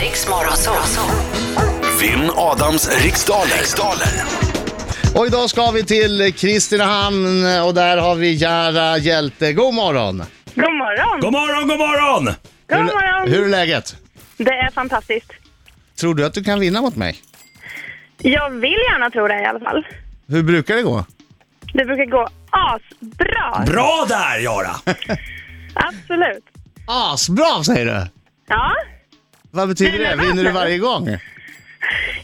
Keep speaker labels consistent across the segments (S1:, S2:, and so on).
S1: Riks Morgonzoo.
S2: Vinn Adams riksdaler. riksdaler.
S3: Och idag ska vi till Kristinehamn och där har vi Jara Hjälte. God morgon!
S4: God morgon!
S5: God morgon, god morgon!
S4: God
S3: Hur,
S4: morgon!
S3: hur är läget?
S4: Det är fantastiskt.
S3: Tror du att du kan vinna mot mig?
S4: Jag vill gärna tro det i alla fall.
S3: Hur brukar det gå?
S4: Det brukar gå asbra.
S5: Bra där Jara!
S4: Absolut.
S3: Asbra säger du!
S4: Ja,
S3: Vad betyder
S4: Nej,
S3: det?
S4: men vad-
S3: Vinner du varje gång?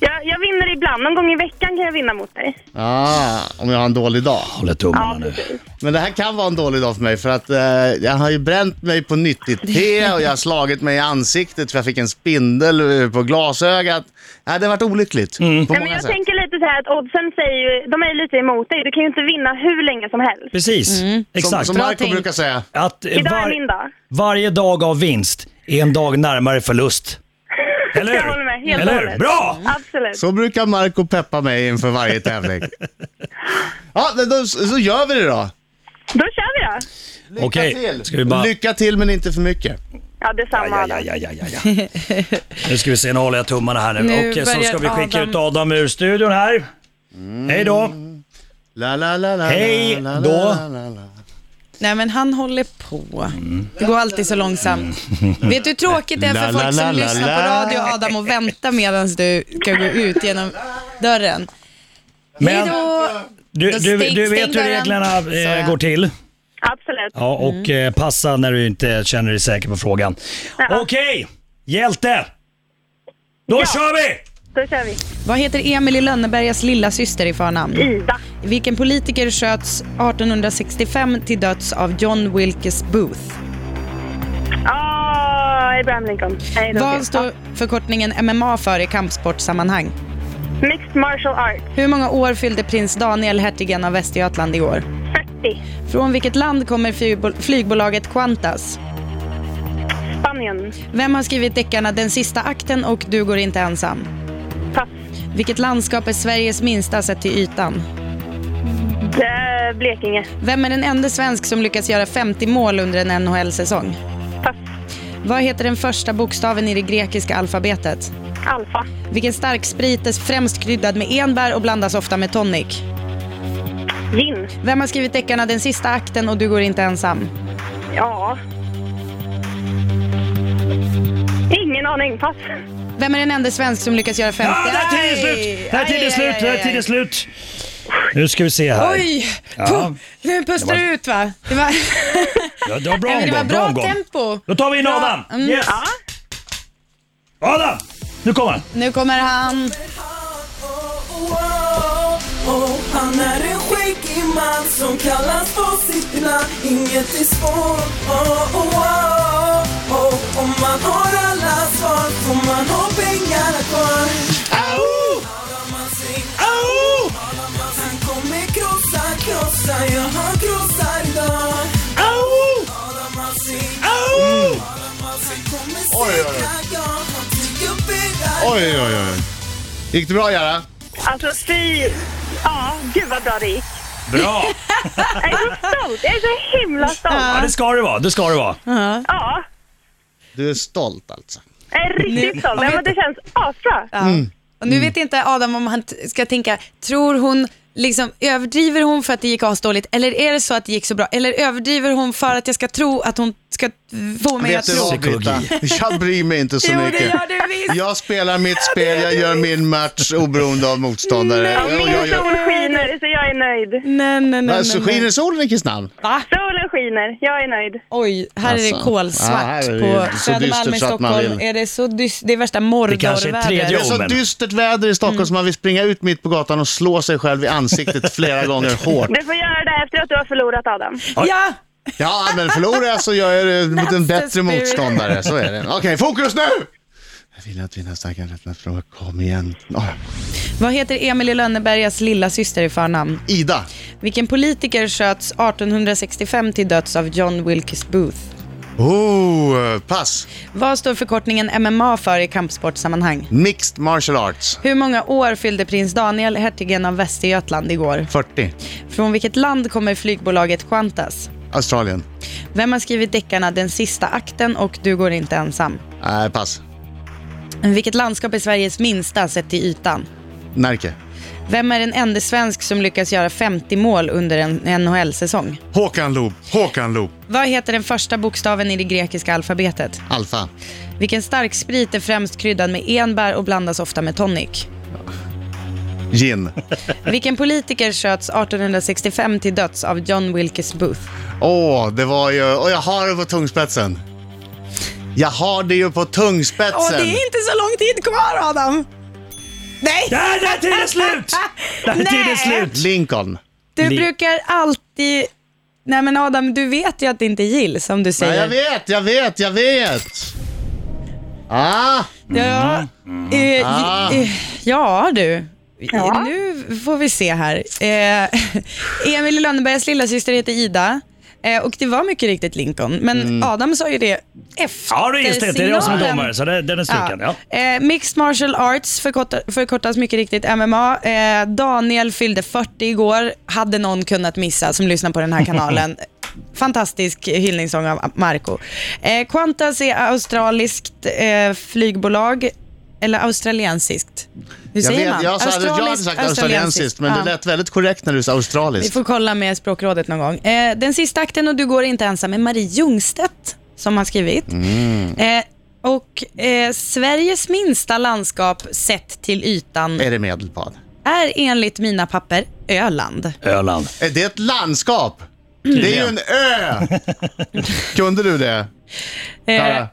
S4: jag, jag vinner ibland. Någon gång i veckan kan jag vinna mot dig.
S3: Ja, om jag har en dålig dag.
S5: Håller tummarna
S4: Ja,
S5: nu.
S4: precis.
S3: Men det här kan vara en dålig dag för mig för att eh, jag har ju bränt mig på nyttigt te och jag har slagit mig i ansiktet för jag fick en spindel eh, på glasögat. Nej, det har varit olyckligt på
S4: Mm. Nej, men
S3: många
S4: jag
S3: sätt.
S4: tänker lite så här att oddsen säger ju, de är ju lite emot dig. Du kan ju inte vinna hur länge som helst.
S5: Precis,
S3: Som,
S5: exakt.
S3: som Marco
S6: tänkt.
S3: brukar säga.
S5: Att eh,
S4: Mm. Idag är
S5: var,
S4: min dag.
S5: varje dag av vinst är en dag närmare förlust. Eller
S4: Jag håller med, helt
S5: Eller
S4: och
S5: hur?
S4: hållet.
S5: Bra!
S4: Absolut.
S3: Så brukar Marco peppa mig inför varje tävling. Ja, men då, så gör vi det då.
S4: Då kör vi då.
S3: Lycka
S5: Okej,
S3: till.
S5: ska vi bara-
S3: Lycka till men inte för mycket.
S4: Ja, detsamma
S5: Ja,
S4: Adam.
S5: ja, ja, ja, ja, ja. Nu ska vi se, nu håller jag tummarna här nu.
S6: Nu
S5: Och eh, så
S6: börjar
S5: ska vi skicka
S6: Adam-
S5: ut Adam ur studion här. Hej då!
S3: La, la, la, la,
S5: Hej
S3: la, la,
S5: då.
S3: la, la, la.
S6: Nej men han håller på. Det går alltid så långsamt. Vet du hur tråkigt det är
S3: Mm. La,
S6: för
S3: la,
S6: folk
S3: la,
S6: som
S3: la,
S6: lyssnar på
S3: la.
S6: radio Adam och väntar medan du ska gå ut genom dörren?
S5: Men-
S6: Hej då!
S5: Du,
S6: Då
S5: du,
S6: stäng-
S5: du vet
S6: stäng
S5: hur
S6: dörren.
S5: reglerna
S6: Så,
S5: eh,
S6: ja.
S5: går till.
S4: Absolut.
S5: Ja, och
S6: Mm.
S5: eh, passa när du inte känner dig säker på frågan.
S4: Ja.
S5: Okej, hjälte! Då kör vi!
S4: Då kör vi.
S6: Vad heter Emil i Lönnebergas lilla syster i förnamn?
S4: Ida.
S6: Vilken politiker sköts 1865 till döds av John Wilkes Booth?
S4: Åh, Abraham Lincoln. Nej, det var fel.
S6: Vad står förkortningen MMA för i kampsportsammanhang?
S4: Ja. Mixed martial arts.
S6: Hur många år fyllde prins Daniel, hertigen av Västergötland, i år?
S4: 40.
S6: Från vilket land kommer flygbol- flygbolaget Qantas?
S4: Spanien.
S6: Vem har skrivit deckarna Den sista akten och Du går inte ensam?
S4: Pass.
S6: Vilket landskap är Sveriges minsta sett till ytan?
S4: Eh, Blekinge.
S6: Vem är den enda svensk som lyckas göra 50 mål under en NHL-säsong?
S4: Pass.
S6: Vad heter den första bokstaven i det grekiska alfabetet?
S4: Alfa.
S6: Vilken stark sprit är främst kryddad med enbär och blandas ofta med tonic?
S4: Gin.
S6: Vem har skrivit deckarna Den sista akten och Du går inte ensam?
S4: Ja. Ingen aning. Pass.
S6: Vem är den enda svensk som lyckas göra 50...
S5: Ja, Ah, där är tiden slut! Där är tiden slut! Där är tiden slut! Nu ska vi se här.
S6: Oj!
S5: Ja.
S6: Puh, nu pustar du ut va? Det var,
S5: Ja, det var bra
S6: Nej, men
S5: omgång,
S6: det var bra,
S5: bra omgång.
S6: tempo.
S5: Då tar vi in
S6: Bra.
S5: Adam!
S6: Mm.
S5: Yes! Adam! Nu kommer han.
S6: Nu kommer han.
S7: Oh, Han är en skäggig man som kallas på sitt namn Inget är svårt, oh, oh, oh, oh. Om man har alla svar får man ha pengarna kvar
S5: Au!
S7: Adam han sing,
S5: Au!
S7: Adam han Han kommer krossa, krossa, ja han krossar idag
S5: Au!
S7: Adam han sing,
S5: Au!
S6: Mm.
S7: Adam han sing kommer
S3: Oj, oj, oj.
S7: segra, ja han tycker upp era
S3: Oj, oj, oj. Gick det bra Jara?
S4: Alltså, fy... Ja, gud vad bra det gick.
S5: Bra!
S4: Jag är så stolt. Jag är så himla stolt.
S5: Ja, det ska det vara. Det ska det vara.
S6: Mm.
S4: Ja.
S3: Du är stolt alltså.
S4: Jag är riktigt stolt. Ja, men det känns asbra.
S6: Ja. Och nu vet inte Adam om han t- ska tänka, tror hon, liksom, överdriver hon för att det gick asdåligt eller är det så att det gick så bra? Eller överdriver hon för att jag ska tro att hon ska få mig att
S3: Vet du
S6: tro?
S3: vad Britta? Jag bryr mig inte så
S6: Jo, det
S3: mycket.
S6: gör du visst.
S3: Jag spelar mitt spel, jag gör min match oberoende av motståndare.
S4: Ja,
S3: Och
S4: min
S3: jag gör...
S4: sol skiner, så jag är nöjd.
S6: Nej, nej, nej.
S3: Alltså,
S6: nej, nej.
S3: skiner solen i Kristinehamn?
S6: Va?
S4: Solen skiner. Jag är nöjd.
S6: Oj, här är det
S3: Alltså. Ja,
S6: kolsvart
S3: här är det
S6: på
S3: så
S6: Södermalm i
S3: dystert så att man
S6: Stockholm.
S3: vill-
S6: Är det så dyst, det är värsta
S5: kanske är tredje
S3: Det
S6: mordorvädret.
S3: är så
S5: men-
S3: dystert väder i Stockholm så man vill springa ut mitt på gatan och slå sig själv i ansiktet flera gånger hårt.
S4: Du får göra det efter att du har förlorat, Adam.
S6: Ja,
S3: Ja, men förlorar jag så gör jag det mot en
S6: That's the
S3: bättre
S6: spirit.
S3: motståndare. Så är det. Okej, fokus nu! Jag vill att vinna starka rätt fråga. Kom igen. Ah,
S6: Vad heter Emil i Lönnebergas lilla syster i förnamn?
S3: Ida.
S6: Vilken politiker sköts 1865 till döds av John Wilkes Booth?
S3: Oh, pass.
S6: Vad står förkortningen MMA för i kampsportsammanhang?
S3: Mixed martial arts.
S6: Hur många år fyllde prins Daniel, hertigen av Västergötland, igår?
S3: 40.
S6: Från vilket land kommer flygbolaget Qantas?
S3: Australien.
S6: Vem har skrivit deckarna Den sista akten och Du går inte ensam?
S3: Nej, pass.
S6: Vilket landskap är Sveriges minsta sett till ytan?
S3: Närke.
S6: Vem är den enda svensk som lyckas göra 50 mål under en NHL-säsong?
S3: Håkan Loop. Håkan Loop.
S6: Vad heter den första bokstaven i det grekiska alfabetet?
S3: Alfa.
S6: Vilken stark sprit är främst kryddad med enbär och blandas ofta med tonic?
S3: Gin.
S6: Vilken politiker sköts 1865 till döds av John Wilkes Booth?
S3: Åh, det var ju... Och jag har det på tungspetsen. Jag har det ju på tungspetsen.
S6: Åh, det är inte så lång tid kvar, Adam! Nej!
S5: Där, där är tiden slut! Där är tiden
S6: Nej.
S5: slut!
S3: Lincoln.
S6: Du
S5: Li-
S6: brukar alltid... Nej men Adam, du vet ju att det inte är Jill som du
S3: Ja, jag
S6: säger.
S3: vet, jag vet, jag vet. Ah,
S6: Ja,
S5: Mm.
S6: eh,
S3: Ah.
S6: eh, ja du. Eh, Nu får vi se här. Eh, Emil i Lönnebergas lillasyster heter Ida. Eh, och det var mycket riktigt Lincoln. Men Adam sa ju det efter
S5: Ja, Mm. det är just det. Det är jag som är
S6: signalen.
S5: domare, så det, den är struken. Ja.
S6: Eh, Mixed Martial Arts förkorta, förkortas mycket riktigt MMA. Eh, Daniel fyllde 40 igår. Hade någon kunnat missa som lyssnar på den här kanalen. Fantastisk hyllningssång av Marco. Eh, Qantas är australiskt eh, flygbolag. Eller australiensiskt. Hur
S3: jag,
S6: säger
S3: vet,
S6: man?
S3: jag, sa, det- jag hade
S6: Australiskt,
S3: sagt australiensiskt, men
S6: Ja.
S3: det lät väldigt korrekt när du sa
S6: Vi
S3: australiskt.
S6: får kolla med språkrådet någon gång. Eh, den sista akten och du går inte ensam är Marie Ljungstedt som har skrivit. Eh, och eh, Sveriges minsta landskap sett till ytan
S3: Är det Medelpad?
S6: är enligt mina papper Öland. Eh,
S5: Öland.
S3: Är Eh, det ett landskap?
S6: Mm.
S3: Det är ju en ö! Kunde du det? Klara?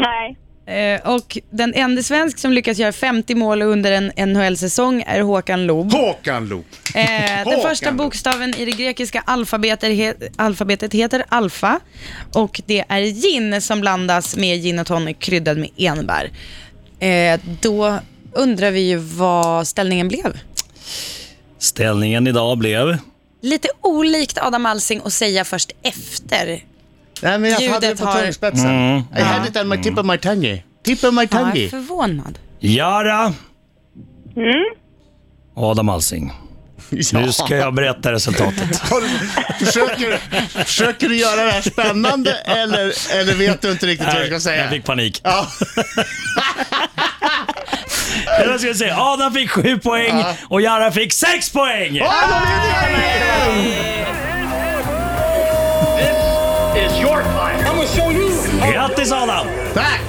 S4: Nej.
S6: Eh, och den enda svensk som lyckas göra 50 mål under en NHL-säsong är Håkan Loob.
S3: Håkan Loop.
S6: Eh, den
S3: Håkan.
S6: första bokstaven i det grekiska alfabetet, he, alfabetet heter alfa och det är gin som blandas med gin och tonic kryddad med enbär. Eh, då undrar vi ju vad ställningen blev.
S5: Ställningen idag blev...
S6: Lite olikt Adam Alsing att säga först efter.
S3: Nej, men jag hade det
S6: Ljudet
S3: på
S6: har-
S3: tungspetsen.
S5: Mm.
S3: I had it on my tip of my tongue. Tip of my
S6: Ja, jag är
S3: tongue.
S6: förvånad.
S5: Jara.
S3: Mm.
S5: Adam Alsing. Nu ska jag berätta resultatet.
S3: försöker, försöker du göra det här spännande eller, eller vet du inte riktigt vad du ska
S5: jag
S3: säga?
S5: fick panik.
S3: Ja.
S5: Eller vad ska jag säga? Adam fick sju poäng och Jara fick sex poäng!
S3: Ah, då vinner jag igen!
S5: Grattis Adam!
S3: Tack!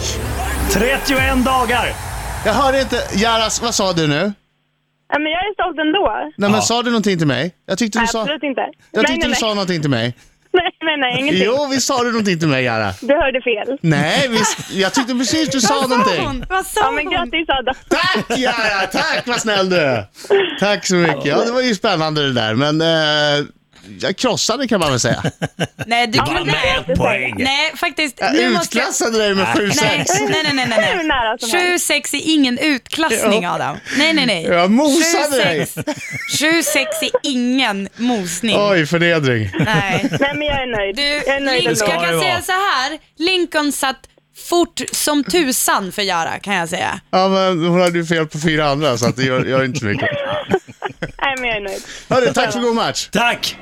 S5: 31 dagar!
S3: Jag hörde inte. Jaras, vad sa du nu?
S4: Ja, men jag är stolt ändå.
S3: Nej, men Sa du någonting till mig? Jag tyckte du sa,
S4: Absolut inte.
S3: jag
S4: nej,
S3: tyckte
S4: nej,
S3: du sa
S4: nej.
S3: någonting till mig.
S4: nej, nej, nej, ingenting.
S3: Jo, visst sa du någonting till mig, Jara?
S4: Du hörde fel.
S3: Nej, visst, jag tyckte precis du sa någonting.
S6: hon? Vad
S4: Ja,
S6: sa
S4: men
S6: hon?
S4: grattis Adam.
S3: Tack Jara, tack vad snäll du är. Tack så mycket. Ja, det var ju spännande det där, men eh, jag krossade kan man väl säga.
S6: Nej, du
S5: Bara
S6: kunde...
S5: med ett poäng!
S6: Nej, faktiskt.
S3: Jag
S6: Nu måste jag...
S3: utklassade dig med 7-6.
S6: Nej, nej, nej, nej, nej.
S4: Hur nära som helst.
S6: 7-6 är ingen utklassning
S3: Ja.
S6: Adam. Nej, nej, nej.
S3: Jag mosade dig.
S6: 7-6 7-6 är ingen mosning.
S3: Oj, förnedring.
S6: Nej.
S4: Nej, men jag är nöjd.
S6: Du,
S4: jag är nöjd
S6: Lincoln,
S4: ändå.
S5: ska-
S6: jag
S5: det
S6: kan
S5: vara.
S6: säga så här. Lincoln satt fort som tusan för Jara kan jag säga.
S3: Ja, men hon hade ju fel på fyra andra, så att det gör, gör inte så mycket.
S4: Nej, men jag är nöjd.
S3: Hörru, tack för god match.
S5: Tack!